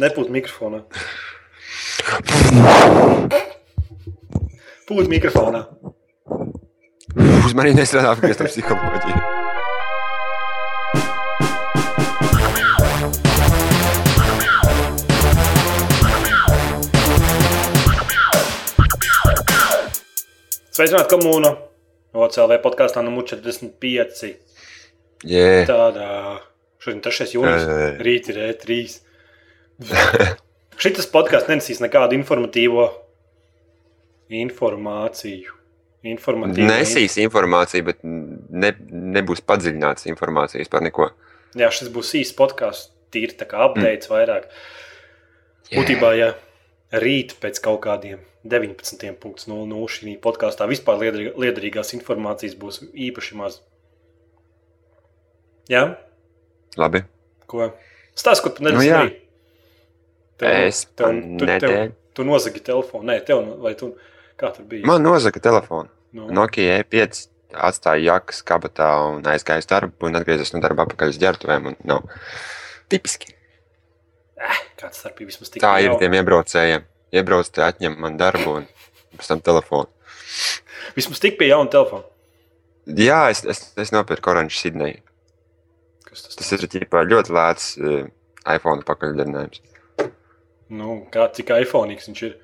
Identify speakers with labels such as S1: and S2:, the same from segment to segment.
S1: Nepūt mikrofonā. Pūt mikrofonā.
S2: Uzmanīgi nestrādā pie tā psiholoģija.
S1: Sveicināti komūnu. OCLV podkāstā numur 45.
S2: Yeah.
S1: Tādā. Šodien 3. jūnijas.
S2: Jā, jā, jā.
S1: Rīt ir E E3. Šis podkāsts nenesīs nekādu informatīvo informāciju. Informatīvu.
S2: Nesīs informāciju, bet ne, nebūs padziļināts informācijas par neko.
S1: Jā, šis būs īsts podkāsts. Tīri tā kā apgādājums mm. vairāk.
S2: Jā.
S1: Būtībā, ja rīt pēc kaut kādiem 19.00 šī podkāstā vispār lieder- liederīgās informācijas būs īpaši maz. Jā,
S2: Labi.
S1: ko? Stāsts, ko tu nedrīkst.
S2: Nu jā.
S1: darīt. Tev-
S2: Es
S1: tev-
S2: man
S1: tu- tev-
S2: nedēļ.
S1: Tu nozagi telefonu. Nē, tev, no- vai tu, kā tur bija?
S2: Man nozaga telefonu.
S1: nu,
S2: Nokia E5 atstāja jakas kabatā un aizgāja uz darbu un atgriezās no darba apakaļ uz ģērbtuvēm. un Nav tipiski.
S1: kāds starpība vismaz tik
S2: Tā ir
S1: nav.
S2: tiem iebraucējiem. Iebrauc te atņem man darbu un pēc tam telefonu.
S1: Vismaz tik pie jauna telefona.
S2: Jā, es, es, es nopirku oranžu Sidneju.
S1: Kas tas,
S2: Tas ir ķipā, ļoti lēts eh, iPhone pakaļdarinājums.
S1: Nu, kā, cik iPhone viņš ir?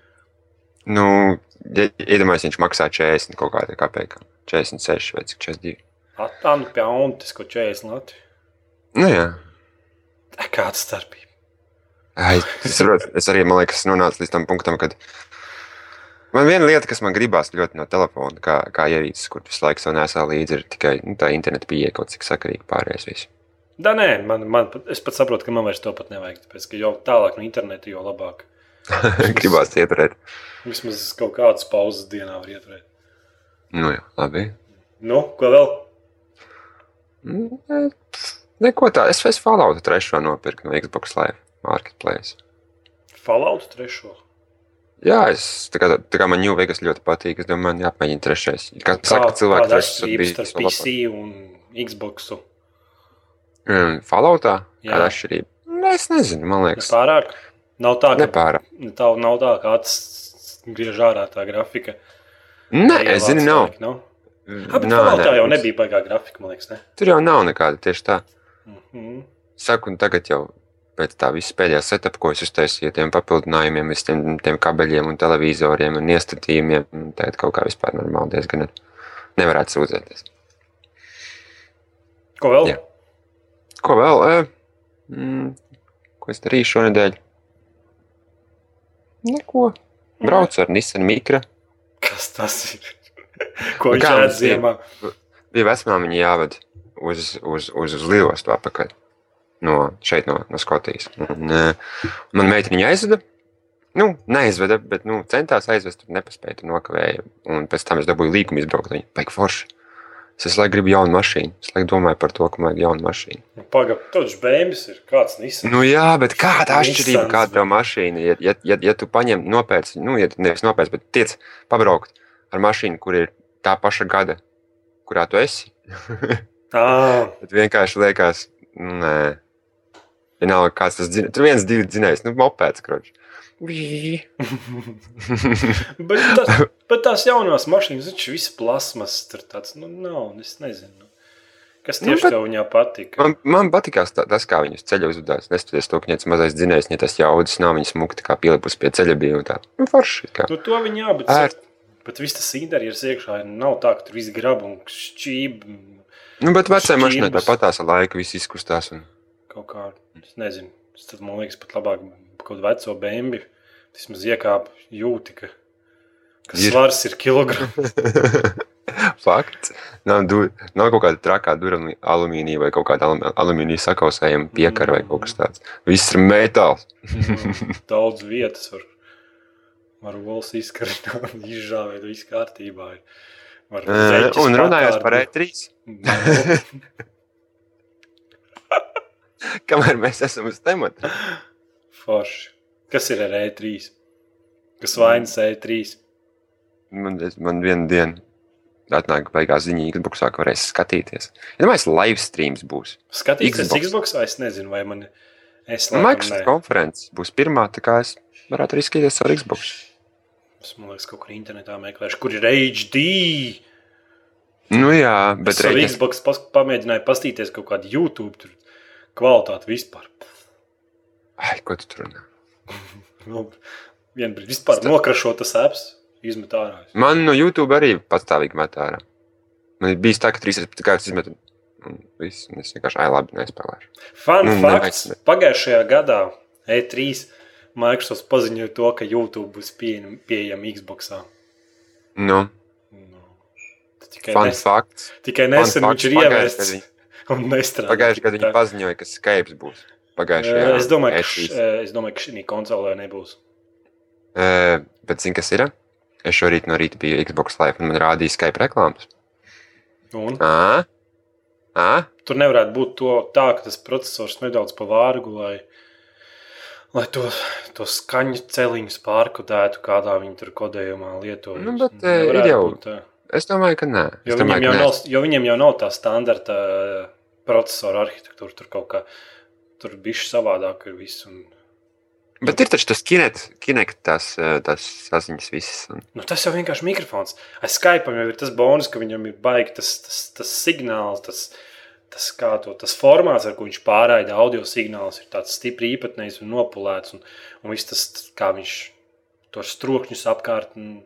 S2: Nu, ja, iedomājieties, viņš maksā 40 kaut kādā kapekā. 46 vai cik 42.
S1: Atānu nu pie auntes, ko 40 lati.
S2: Nu, jā.
S1: Tā Kāda starpība?
S2: Ai, es, saprotu. es arī, man liekas, nonācu līdz tam punktam, kad man viena lieta, kas man gribās ļoti no telefona, kā, kā ierīces, kur visu laiku to nesā līdzi, ir tikai nu, tā interneta pieeja kaut cik sakarīga pārējais. Viss.
S1: Da, nē, man, man, pat- es pat saprotu, ka man vairs to pat nevajag. Tāpēc, ka jo tālāk no interneta, jo labāk.
S2: Gribās ieturēt.
S1: Vismaz kaut kādas pauzes dienā var ieturēt.
S2: Nu, jā, labi.
S1: Nu, ko vēl?
S2: Mm, nē, pff, Neko tā, es vēl Falloutu trešo nopirku no Xbox Live Marketplace.
S1: Falautu trešo.
S2: Jā, es, tā, kā, tā kā man Ņūvēgas ļoti patīk, es domāju, man jāpamēģina trešais. Kā saka, cilvēki
S1: kāda
S2: trešais ir
S1: atšķirība
S2: bijis
S1: starp
S2: vislabāk.
S1: PC un Xbox?
S2: Mm, Falloutā?
S1: Jā.
S2: Kāda atšķirība? Nē, Es nezinu, man liekas,
S1: Nepārāk. Nav tā, ka
S2: nepārāk.
S1: tā nav tā, ka acis griež ārā tā grafika.
S2: Nē, es zinu, nav.
S1: Nē,
S2: Nā,
S1: tā jau nebija baigā grafika, man liekas. Ne?
S2: Tur jau nav nekāda tieši tā.
S1: Mhm.
S2: Saku, un tagad jau pēc tā visa pēdējā setup, ko es uztaisīju, tiem papildinājumiem, visiem tiem, tiem kabeļiem un televizoriem un iestatījumiem, un tagad kaut kā vispār normāli diezgan ir. nevarētu sūdzēties.
S1: Ko vēl?
S2: Jā. Ko vēl? e, Mm, ko es darīju šonadēļ? Neko. Braucu ar Nissan Mikra.
S1: Kas tas ir? Ko viņš
S2: Nu, Kā
S1: ēd
S2: mums ir?
S1: ziemā?
S2: Bija vecumā viņa jāved uz, uz, uz, uz lidostu atpakaļ. No šeit, no, no Skotijas. Un, e, man meita viņu aizveda. Nu, neaizveda, bet nu, centās aizvest, tur nepaspēja, tur nokavēja. Un pēc tam es dabūju līgumu izbraukt. Viņa baigi forši. Es visu laiku gribu jaunu mašīnu. Es visu laiku domāju par to, ka man ir jauna mašīna.
S1: Pagaidām, tas bēmis ir kāds nisans.
S2: Nu, jā, bet kāda atšķirība,
S1: Nissans,
S2: kāda
S1: bet-
S2: tev mašīna? Ja, ja, ja, ja tu paņem nopērci, nu, ja nevis nopērci, bet tiec pabraukt ar mašīnu, kur ir tā paša gada, kurā tu esi,
S1: Ā,
S2: tad vienkārši liekas, nu, nē, vienalga, kāds tas dzina. Tur viens, divi dzinējs, nu, mopēts, kroč.
S1: bet, tas, bet tās jaunās mašīnas, viņš viss plasmas tur tāds, nu, nav, es nezinu. nu. Kas
S2: Nu,
S1: tieši
S2: bet-
S1: tev viņā patika?
S2: Man, man patīkās tā, tas, kā viņas ceļā uzvedās. Neskatoties to, ka viņas mazais dzinējs, ne tas jaudas, nav viņas mukti kā pielipus pie ceļa bija un tā. Nu, forši. Kā.
S1: Nu, to viņa jā, bet,
S2: Ērt.
S1: bet viss tas interjers iekšā ir- nav tā, ka tur viss grab un šķīb un
S2: Nu, bet vecajā
S1: Šķirbas.
S2: mašīnā tāpat tās ar laiku viss izkustās. Un...
S1: kaut kā, es nezinu. Es Tad man liekas, pat labāk kaut kādu veco bēmbi. Vismaz iekāp jūti, ka, ka
S2: Ir.
S1: svars ir kilograms.
S2: Fakts. Nav, du, nav kaut kāda trakā durvīm, alumīnija vai kaut kāda alu- alumīnija sakausējuma piekara vai kaut kas tāds. Viss ir metāls.
S1: Nu, daudz vietas var, var olas izkarināt, izžāvēt, viss kārtībā. ir. Var
S2: Eh,
S1: zeķes
S2: Un runājot
S1: pakārt-
S2: par E3,
S1: Nu,
S2: kamēr mēs esam uz temata,
S1: Forši. Kas ir ar E3? Kas vainas E E3?
S2: man, es- man viena diena atnāk beigās ziņa, Xbox, ka varēs skatīties. Es domāju, live streams būs.
S1: Skatīties
S2: Xbox.
S1: Xbox, es nezinu, vai man Es
S2: Nu,
S1: laikam
S2: Microsoft
S1: nē.
S2: konferences būs pirmā, tā kā es varētu arī skatīties ar Xbox.
S1: Es man liekas, kaut kur internetā meklēšu, kur ir HD.
S2: Nu jā, bet
S1: Bet es ar
S2: reiķis.
S1: Xbox pas, pamēģināju paskatīties kaut kādu YouTube tur kvalitāti vispār.
S2: Ai, ko tu tur runā?
S1: Nu, vienbrīd vispār nokrašo tas apps, izmet ārā.
S2: Man no YouTube arī pastāvīgi met ārā. Man ir bijis tā, ka trīs reizes kārtas izmetu. Un viss, un es vienkārši, ai, labi, nespēlēšu.
S1: Fun
S2: Nu,
S1: nu, fakts:
S2: nevajag.
S1: pagājušajā gadā E3 Microsoft paziņoja to, ka YouTube būs pieejam- pieejama Xbox.
S2: Nu,
S1: Nu, tas tikai
S2: fun
S1: nes-
S2: fakts.
S1: tikai
S2: fun
S1: nesen
S2: facts,
S1: viņš ir
S2: pagājušajā
S1: ieviests
S2: gadu
S1: un nestrādājis.
S2: Pagājušajā gadā viņi paziņoja, ka Skype būs. Pagājušajā E
S1: Es domāju, ka,
S2: E3.
S1: š- e, es domāju, ka šī konsolē nebūs.
S2: Ē, E, Bet zini, kas ir? Es šorīt no rīta biju Xbox Live un man rādīja Skype reklāmas.
S1: Un,
S2: Ā? Ā?
S1: tur nevarētu būt to, tā, ka tas processors nedaudz pavārgu, lai, lai to, to skaņu celiņus pārkodētu, kādā viņi tur kodējumā lieto.
S2: Nu, bet, eh, ir jau- Es domāju, ka nē.
S1: Jo,
S2: Es
S1: viņiem
S2: domāju,
S1: jau
S2: ka nē.
S1: nav, jo viņiem jau nav tā standarta eh, procesora arhitektūra, tur kaut kā tur bišķi savādāk ir viss. Un,
S2: Bet ir taču tas kinekts, kinekt, tas, ē, tas e, saziņas viss. Un...
S1: nu, tas jau vienkārši mikrofons. Aiz Skype jau ir tas bonus, ka viņam ir baigts tas, tas, tas signāls. Tas, Tas, kā to, tas formāts, ar ko viņš pārraida audio signālus, ir tāds stipri īpatnējs un nopulēts. Un, un viss tas, kā viņš to strokšņus apkārt un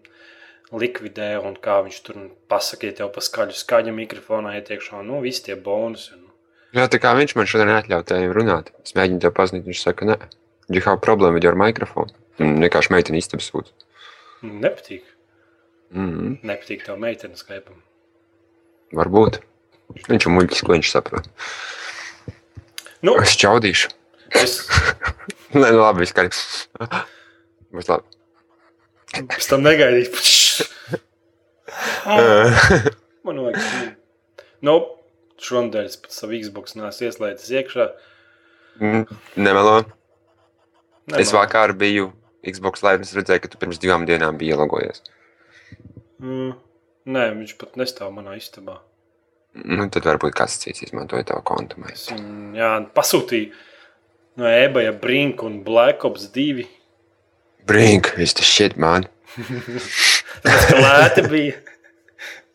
S1: likvidē, un kā viņš tur pasakīja, tev pa skaļu skaņu mikrofonā ietiekšā, nu, visi tie nu, bonusi. Un,
S2: Jā, tā kā viņš man šodien neatļāva tevi runāt. Es mēģināju te paziņot, viņš saka, nē, you have problem with your microphone. Un vienkārši meitene īstenībā sūta.
S1: nu, nepatīk.
S2: Mm
S1: Mhm.
S2: -hmm.
S1: Nepatīk tev meitene Skype.
S2: Varbūt. Viņš ir muļķis, ko viņš saprot.
S1: Nu,
S2: Es čaudīšu.
S1: es
S2: Nē, nu labi, vispār. Būs labi.
S1: pēc tam negaidīju.
S2: Ē,
S1: Man liekas, nu, nu šonadēļ es pat savu Xbox nesu ieslēdzis iekšā.
S2: mm, Nemelo.
S1: Nē,
S2: Es
S1: man-
S2: vakar biju Xbox Live, un es redzēju, ka tu pirms divām dienām biji ielogojies.
S1: Mm, Nē, viņš pat nestāv manā istabā.
S2: Nu, tad varbūt kāds cits izmantoja tavu kontu.
S1: Es
S2: mēs.
S1: viņu jā, pasūtīju no eBay Brink un Black Ops 2.
S2: Brink, is the shit, man.
S1: Tas ka lēti bija.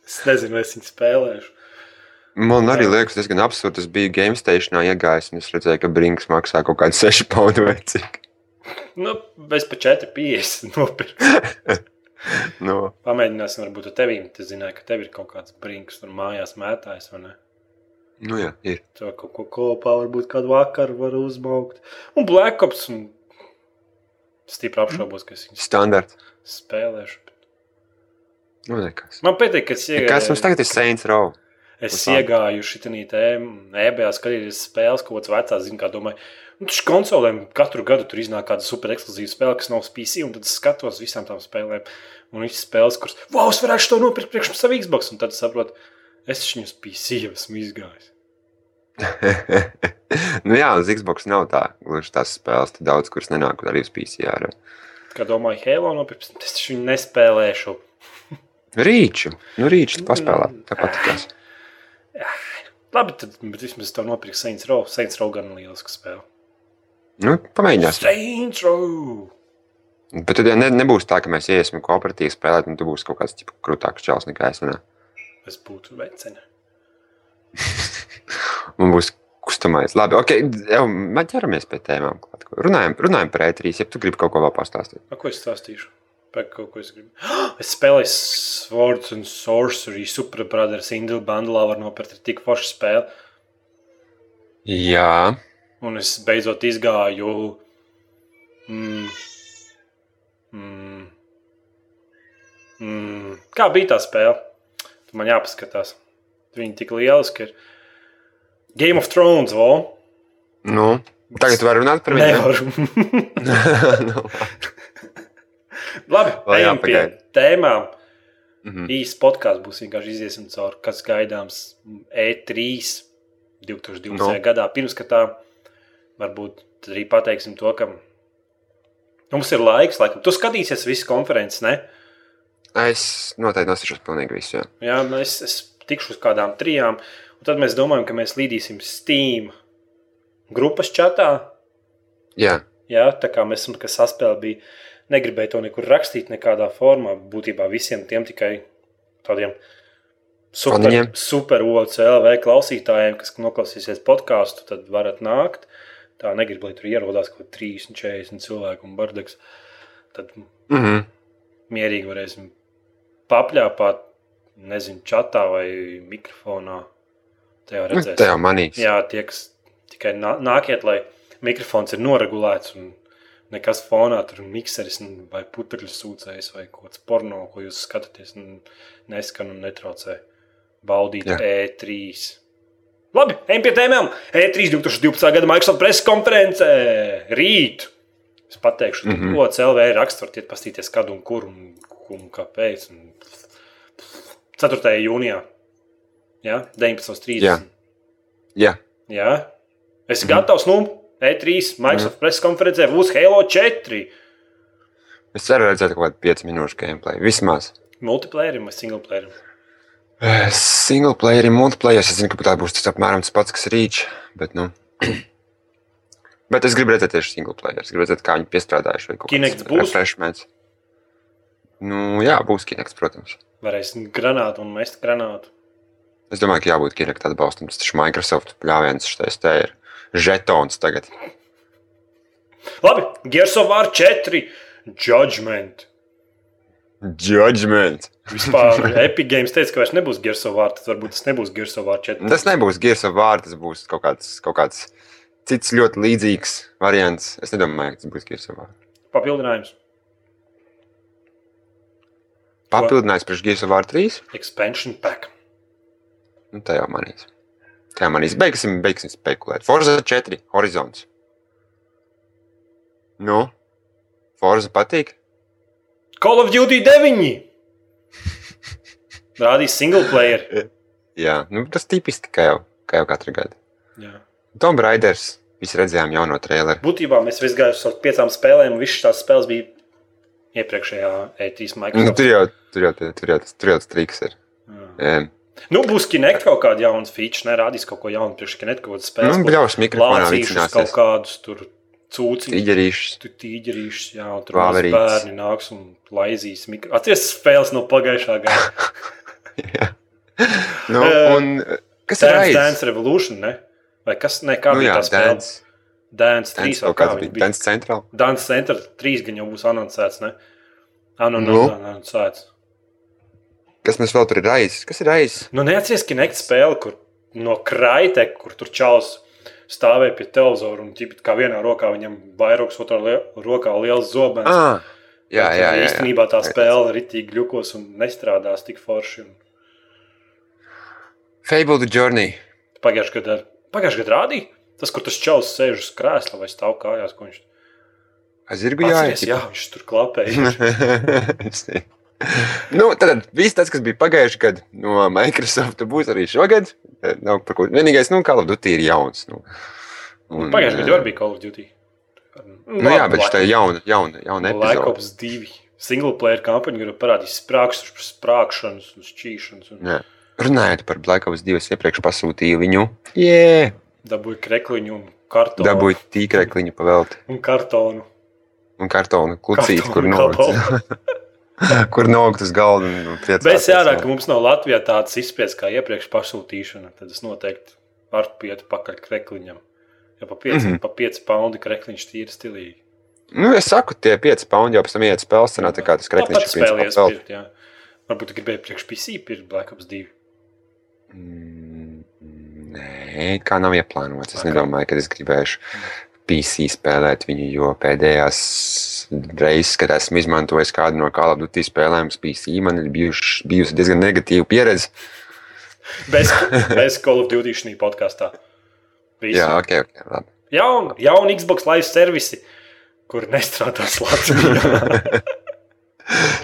S1: Es nezinu, vai es viņu spēlēšu.
S2: Man arī liekas, tas ir diezgan absurds. Es biju game stationā iegājis, un es redzēju, ka Brinks maksā kaut kādu 6 poundu vai cik.
S1: Nu, bez pa 4,50 nopirku.
S2: No.
S1: Pamēģināsim, varbūt ar tevīm. Te zināju, ka tev ir kaut kāds brinks tur mājās mētājs, vai ne?
S2: Nu, jā, ir.
S1: Tur kaut ko kopā, varbūt kādu vakaru var uzmaukt. Un Black Ops. Un... Stipri apšaubos, ka es viņu
S2: Standarts.
S1: spēlēšu.
S2: Nu, nekas.
S1: Man patīk, ka es
S2: Kas mums tagad ir Saints Row?
S1: Es
S2: uz tādu?
S1: iegāju šitā E tēmā, ebēā skatīties spēles, ko otrs vecās zina, kā domāju. Nu, Taču konsolēm katru gadu tur iznāk kāda super ekskluzīva spēle, kas nav uz PC, un tad es skatos visām tām spēlēm. Un visas spēles, kuras, wow, es varētu to nopirkt priekš savas Xbox, un tad saprotu, es viņus PC jau esmu izgājis.
S2: nu, jā, uz Xbox nav tā. Gluži tās spēles, tad daudz, kuras nenāk arī uz PCR.
S1: Kā domāju, Halo nopirkt, es taču viņu nespēlēšu.
S2: Rīču. Nu, rīču paspēlē. Tāpat kā.
S1: Labi, tad bet vismaz tev nopirkt Saints Row. Saints Row gan lieliska spēle.
S2: Nu, pamēģināsim.
S1: Saints Row!
S2: Bet tad ja ne, nebūs tā, ka mēs iesim kooperatīvi spēlēt, un tu būsi kaut kāds tipu, krūtāks čels nekā es. Manā.
S1: Es būtu vecene.
S2: Man būs kustamais. Labi, ok, jau mēs ķeramies pie tēmām. klāt. Ko- Runājam, runājam par E3. Ja tu gribi kaut ko vēl pastāstīt,
S1: A, ko es stāstīšu? Par kaut ko es gribu. Es spēlēju Swords and Sorcery, Super Brothers, Indra Bandlā var nopirkt ir tik foršu spēli.
S2: jā,
S1: Un es beidzot izgāju. Mm, mm, mm, kā bija tā spēle? Tur man jāpaskatās. Viņa tik lieliski ir. Game of Thrones, vēl?
S2: nu, tagad var runāt par viņu.
S1: Nevaru.
S2: Nu,
S1: Labi,
S2: Vēl
S1: ejam pie
S2: jāpagaida.
S1: tēmām.
S2: mhm.
S1: Īsts podkāsts būs vienkārši iziesim cauri, kas gaidāms E3 2020. No.
S2: Nu.
S1: gadā. Pirms ka tā, varbūt tad arī pateiksim to, ka mums ir laiks, laikam. Tu skatīsies visas konferences, ne?
S2: es noteikti nosprāstu pilnīgi visu. Jā.
S1: Jā, nu es, es tikšu uz kādām trijām, un tad mēs domājam, ka mēs līdīsim Steam grupas čatā
S2: Jā,
S1: Ja? Tā kā mēs esam saspēlējuši, bija negribēju to nekur rakstīt, nekādā formā. Būtībā visiem tiem tikai tādiem super,
S2: Faniņiem.
S1: super OCLV klausītājiem, kas noklausīsies podkāstu, tad varat nākt. Tā negribu, lai tur ierodās kaut kādi 30, 40 cilvēku un bardeks. Tad
S2: mm -hmm.
S1: mierīgi varēsim papļāpāt, nezinu, čatā vai mikrofonā. Tajā redzēsim.
S2: tā jau manīs.
S1: Jā, tie, kas tikai nā- nākiet, lai mikrofons ir noregulēts un nekas fonā tur mikseris un- vai putekļu sūcējs vai kaut kāds porno, ko jūs skatāties, un neskan un netraucē. Baudīt
S2: Jā.
S1: E3. Labi, ejam pie tēmām. E3 2012. gada Microsoft preses konferencē rīt. Es pateikšu, mm
S2: Mhm.
S1: -hmm. ko CLV raksts, varat iet paskatīties, kad un kur un, un kāpēc. Un 4. jūnijā, ja? 19.30.
S2: Jā. Jā.
S1: Jā, es esmu gatavs. Nu, E3, Microsoft mm. preses konferencē būs Halo 4.
S2: Es ceru redzēt kaut kādu 5 minūšu gameplay. Vismaz.
S1: Multiplayerim vai singleplayerim?
S2: Eh, Single player, multiplayer. Es zinu, ka tā būs tas apmēram tas pats, kas rīč. Bet, nu. bet es gribu redzēt tieši single player. Es gribu redzēt, kā viņi piestrādājuši. vai kaut
S1: Kinects
S2: kāds
S1: būs?
S2: refreshments. Nu, jā, būs Kinect, protams.
S1: Varēs granātu un mest granātu.
S2: Es domāju, ka jābūt Kinect atbalstam. Tas taču Microsoft pļāviens štais te ir. Žetons tagad.
S1: Labi, Gears of War 4. Judgment.
S2: Judgment.
S1: Vispār Epic Games teica, ka vairs nebūs Gears of War, tad varbūt tas nebūs Gears of War 4.
S2: Tas nebūs Gears of War, tas būs kaut kāds, kaut kāds cits ļoti līdzīgs variants. Es nedomāju, ka tas būs Gears of War.
S1: papildinājums.
S2: Papildinājums priekš Gears of War 3.
S1: Expansion pack.
S2: Nu, tā jau manīs. Tā jau manīs. Beigsim, beigsim spekulēt. Forza 4. Horizons. Nu, Forza patīk.
S1: Call of Duty 9. Rādīs singleplayer.
S2: Jā, nu, tas tipiski kā jau, kā jau katru gadu.
S1: Jā.
S2: Tomb Raiders. Visi redzējām jauno traileru.
S1: Būtībā mēs visi gājām uz piecām spēlēm, un visas tās spēles bija iepriekšējā E3
S2: Nu,
S1: Microsoft.
S2: tur jau, tur jau, tur jau, tas- tur jau tas triks ir.
S1: Jā.
S2: Em,
S1: Nu, būs Kinect kaut kāda jauna feature, nerādīs kaut ko jaunu, priekš Kinect kaut kādas
S2: Nu,
S1: spēles. būs
S2: bļaus mikrofonā
S1: Lācīšus kaut
S2: vicināsies.
S1: kādus tur cūciņus.
S2: Tīģerīšs.
S1: Tur tīģerīšus, jā, un tur mazi
S2: Vāverītes.
S1: bērni nāks un laizīs mikro. Atceries tas spēles no pagājušā gada.
S2: Jā. Nu,
S1: Eh,
S2: un eh, kas ir
S1: Dance,
S2: raidījums?
S1: Dance Revolution, ne? Vai kas, ne, kā
S2: Nu,
S1: nu, bija
S2: jā,
S1: jā, tā spēle?
S2: Dance.
S1: Dance 3
S2: Dance
S1: vai
S2: kaut
S1: kā
S2: kāds
S1: viņa
S2: bija.
S1: bija?
S2: Dance Central.
S1: Dance Center 3 gan jau būs anoncēts, ne?
S2: Nu?
S1: Anoncēts.
S2: Kas mums vēl tur ir raidījis? Kas ir raidījis?
S1: Nu, neatceries, ka nekāda spēle, kur no kraitē, kur tur čels stāvēja pie televizora un ķipit, kā vienā rokā viņam vairogs, otrā lie- rokā liels zobens.
S2: Ah, jā,
S1: Tad
S2: jā, jā, jā.
S1: Īstenībā tā
S2: Jā, jā.
S1: spēle ritīgi ļukos un nestrādās tik forši. un
S2: Fable the Journey.
S1: Pagājušajā gadā, pagājušajā gadā rādīja tas, kur tas čels sēž uz krēsla vai stāv kājās, ko viņš
S2: Azirgu
S1: Atceries,
S2: jāja.
S1: jā, viņš tur klapēja.
S2: nu, tad viss tas, kas bija pagājuši gadu no Microsoft, būs arī šogad. Eh, Nav par ko. Vienīgais, nu, kā labi, tu ir jauns. Nu. Un,
S1: Pagājušajā gadā
S2: eh,
S1: jau bija Call of Duty.
S2: Nu, jā, bet šī jauna, jauna, jauna
S1: Black
S2: epizode.
S1: Ops 2. Single player kampaņa, kur parādīs sprākstus, sprākšanas un šķīšanas. Un...
S2: Jā. Runājot par Black Ops 2, iepriekš pasūtīju viņu. Yeah.
S1: dabūju krekliņu, un kartonu.
S2: Dabūju tīkrekliņu pavelti
S1: un kartonu.
S2: un kartonu klucīt,
S1: Kartonu
S2: kur
S1: kabalu.
S2: nolikt. kur nolikt uz galda un un priecāties.
S1: Bet es jārāk, ka mums nav Latvijā tāds izpētes kā iepriekš pasūtīšana. Tad es noteikti varu piet pakaļ krekliņam. Ja pa 5 mm
S2: Mhm.
S1: -hmm. pa pieci paundi krekliņš tīri stilīgi.
S2: Nu, es saku, tie 5 paundi jau pēc tam iet spēles cenā, tā kā tas krekliņš
S1: Tāpat
S2: ir
S1: spēlējies
S2: principā
S1: pirkt, jā. Varbūt gribēju priekš PC pirkt Black Ops 2.
S2: vēl. Mm, Nē, kā nav ieplānots. Es nedomāju, ka es gribēšu PC spēlēt viņu, jo pēdējās reizes, kad esmu izmantojis kādu no Call of Duty spēlēm uz PC, man ir bijuši, bijusi diezgan negatīva pieredze.
S1: Bez, bez Call of Duty šī podkāstā.
S2: Jā, ok, ok, labi.
S1: Jaun, jaun Xbox Live servisi, kur nestrādās Latvijā.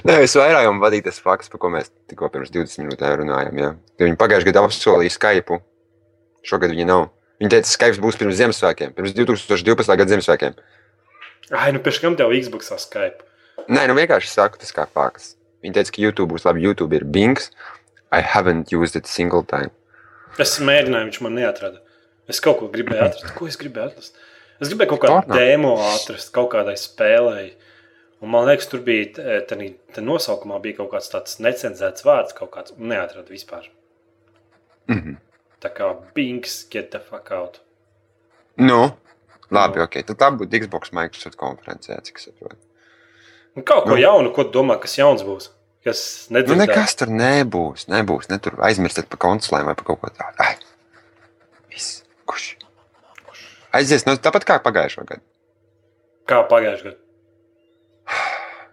S2: Nē, visvairāk vadīja tas fakts, par ko mēs tikko pirms 20 minūtēm runājām. Jā. Jo Viņi pagājušajā gadā apsolīja Skype. Šogad viņi nav. Viņi teica, ka Skype būs pirms Ziemassvētkiem, pirms 2012. gada Ziemassvētkiem.
S1: Ai, nu pēc kam tev Xbox Skype?
S2: Nē, nu vienkārši saku, tas kā fakts. Viņi teica, ka YouTube būs labi. YouTube ir Bings. I haven't used it single time. Mhm.
S1: Es mēģināju, viņš man neatrada. Es kaut ko gribēju atrast. Ko es gribēju atrast? Es gribēju kaut kādu
S2: Fortnite?
S1: demo atrast, kaut kādai spēlēji. Un man liekas, tur bija e, tā nosaukumā bija kaut kāds tāds necenzēts vārds, kaut kāds neatrādīts vispār.
S2: Mm -hmm.
S1: Tā kā Bings, get the fuck out.
S2: Nu, labi, ok. Tad tā būtu Xbox Microsoft konferencē, cik es saprotu.
S1: Un kaut ko
S2: Nu.
S1: jaunu, ko tu domā, kas jauns būs? Kas
S2: Nu,
S1: nedzirdēts?
S2: nekas tur nebūs. Nebūs. Ne tur aizmirstiet par konsolēm vai par kaut ko tādu. Ai, viss. Kurš? Aizies. Nu, tāpat kā pagājušā gada.
S1: Kā pagājušajā gadā.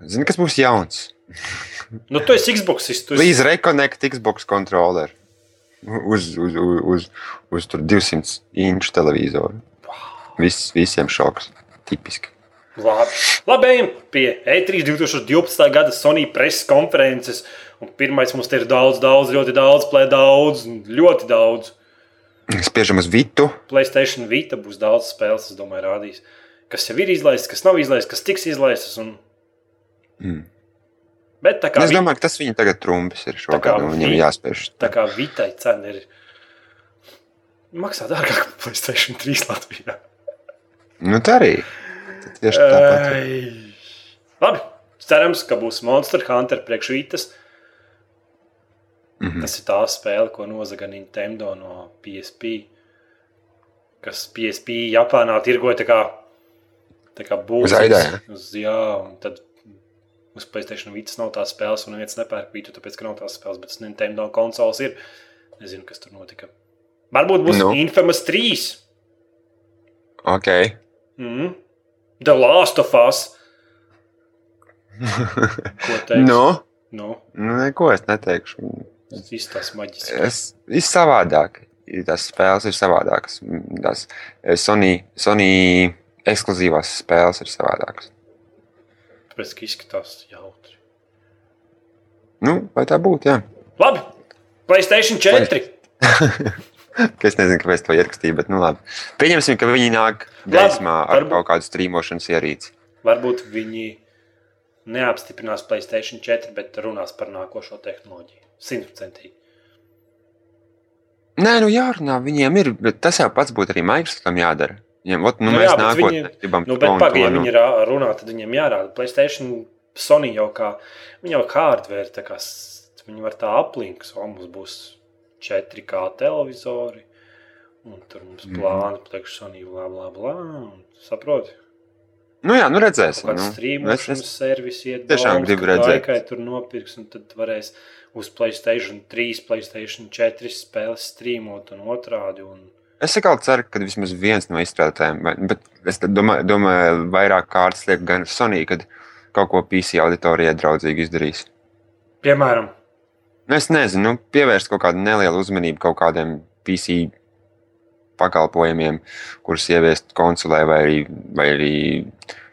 S2: Zini, kas būs jauns?
S1: Nu, tu esi Xbox, tu esi
S2: Please reconnect Xbox controller. Uz, uz, uz, uz, uz tur 200 inču televizoru. Viss, visiem šoks. Tipiski.
S1: Labi. Labi, ejam pie E3 2012. gada Sony preses konferences. Un pirmais mums te ir daudz, daudz, ļoti daudz, play daudz, un ļoti daudz.
S2: Spiežam uz vitu.
S1: Playstation Vita būs daudz spēles, es domāju, rādīs. Kas jau ir izlaists, kas nav izlaists, kas tiks izlaists. Un...
S2: Mm.
S1: Bet tā kā,
S2: Nu, Es
S1: vi...
S2: domāju, ka tas viņa tagad trumpis ir
S1: kā
S2: šogad. un Viņam
S1: vi-
S2: jāspiež.
S1: tā kā Vitai cena ir. Maksā dārgāk par Playstation 3 Latvijā.
S2: Nu, tā arī. Tad Tieši tāpat.
S1: Ei. Labi, cerams, ka būs Monster Hunter priekšvītas.
S2: Mhm.
S1: Tas ir tā spēle, ko nozaga Nintendo no PSP. Kas PSP Japānā tirgoja tā kā, tā kā būs.
S2: aidē,
S1: Uz, jā, un tad uz PlayStation Vītas nav tās spēles, un neviens nepērk Vītu, tāpēc, ka nav tās spēles, bet uz Nintendo konsoles ir. Nezinu, kas tur notika. Varbūt būs
S2: Nu.
S1: no. Infamous 3.
S2: Okay.
S1: Mm. The Last of Us. Ko teikt?
S2: nu,
S1: Nu,
S2: nu, neko es neteikšu.
S1: tas viss tas maģisks.
S2: Es ir savādāk. Ir Tās spēles ir savādākas. Tās eh, Sony, Sony ekskluzīvās spēles ir savādākas.
S1: Tāpēc, ka izskatās jautri.
S2: Nu, vai tā būtu? Jā,
S1: Labi, Playstation 4.
S2: Ka es nezinu, kāpēc to ierakstīju, bet nu labi. Pieņemsim, ka viņi nāk gaismā ar
S1: varbūt-
S2: kaut kādu strīmošanas ierīci.
S1: Varbūt viņi neapstiprinās Playstation 4, bet runās par nākošo tehnoloģiju. Simtprocentīgi.
S2: Nē, nu jārunā, viņiem ir, bet tas jau pats būtu arī Microsoftam jādara. Viņiem, ot, nu,
S1: Nu
S2: nu,
S1: jā,
S2: mēs jā,
S1: bet
S2: nākotnē
S1: viņi-
S2: viņi... gribam
S1: Nu, bet,
S2: un
S1: pag, ja
S2: nu.
S1: viņi rā- runā, tad viņiem jārāda Playstation, Sony jau kā, viņi jau kā hardware, tā kā s- viņi var tā aplinks, o, mums būs 4K televizori, un tur mums
S2: Mhm.
S1: plāni, plekš Sony, blā, blā, blā, un saproti?
S2: Nu jā, nu
S1: Kaut
S2: redzēsim.
S1: kāds
S2: Nu. Es,
S1: strīmošanas
S2: es...
S1: servis iet
S2: tiešām
S1: daudz, ka
S2: gribu redzēt.
S1: Kaikai tur nopirks, un tad varēs uz Playstation 3, Playstation 4 spēles strīmot un otrādi. Un...
S2: Es tikai ceru, ka vismaz viens no izstrādātājiem, vai- bet es tad domāju, domāju vairāk kārtas liek gan Sony, kad kaut ko PC auditorijai draudzīgi izdarīs.
S1: Piemēram,
S2: Nu, es nezinu, nu, pievērst kaut kādu nelielu uzmanību kaut kādiem PC pakalpojumiem, kurus ieviest konsolē vai arī, vai arī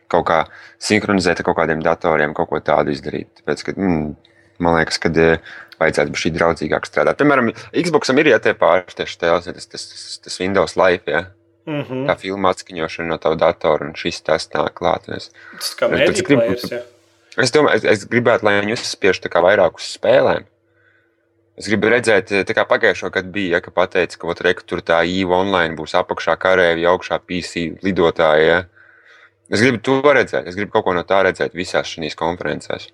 S2: kaut kā sinhronizēt ar kaut kādiem datoriem, kaut ko tādu izdarīt. Tāpēc, ka, mm, man liekas, ka eh, vajadzētu būt šī draudzīgāk strādāt. Piemēram, Xboxam ir jātiek pārsteigts tēls, tas, tas, tas, tas Windows Live. Ja?
S1: mm -hmm.
S2: tā filma atskaņošana no tava datora, un šis tas nāk klāt. Un Es,
S1: tas kā
S2: Es pats
S1: mēdīņu
S2: gribu-
S1: plējas. Ja.
S2: es domāju, es, es gribētu, lai viņi uzspiež tā kā vairāk uz spēlēm. Es gribu redzēt, tā kā pagājušā gada bija, ja, ka pateica, ka ot, re, ka tur tā īva online būs apakšā karēvi, augšā PC lidotāja. Ja. Es gribu to redzēt, es gribu kaut ko no tā redzēt visās šīs konferencēs.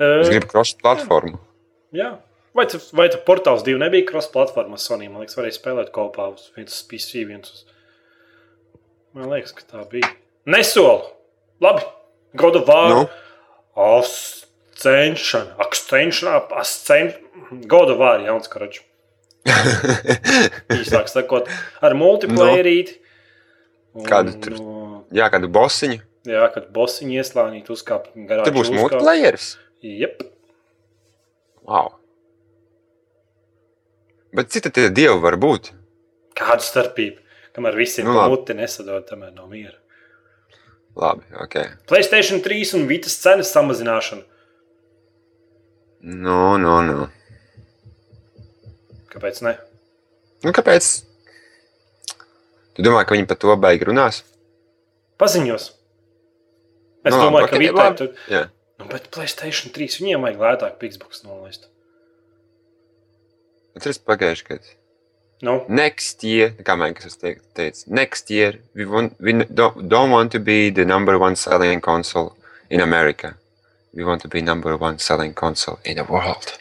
S2: Es
S1: Uh,
S2: gribu cross-platformu.
S1: jā. Vai tas vai tas portāls divi nebija cross-platformā Sony? Man liekas, varēja spēlēt kopā uz viens uz PC, viens uz. Man liekas, ka tā bija. Nesolu! Labi! God of War!
S2: Nu?
S1: No. Ascension, Ascension, Ascension, Goda vārds, jauns karačs. Īsāk sakot, ar multiplayerīti. Un,
S2: Kādu Nu? tur-
S1: nu,
S2: Jā, kādu bosiņu.
S1: Jā, kad bosiņi ieslānīt, uzkāpt garā.
S2: Tur būs multiplayeris.
S1: Jep.
S2: Wow. Bet cita tie dievi var būt.
S1: Kāda starpība? Kamēr visiem
S2: Nu,
S1: nu,
S2: labi.
S1: muti nesadod, tamēr nav miera.
S2: Labi, ok.
S1: Playstation 3 un Vitas cenas samazināšana.
S2: Nu, nu, nu.
S1: Kāpēc ne?
S2: Nu, kāpēc? Tu domā, ka viņi par to beigās runās?
S1: Paziņos. Es
S2: Nu, labi,
S1: domāju, ka
S2: okei,
S1: Vitai
S2: labi.
S1: tur...
S2: Jā.
S1: Nu, bet Playstation 3 viņiem vajag lētāk Pixbox nolaist.
S2: Atceries pagājušajā gadā.
S1: Nu,
S2: next year, kā Maikas teica, next year we, want, we don't, don't want to be the number one selling console in America. We want to be number one selling console in the world.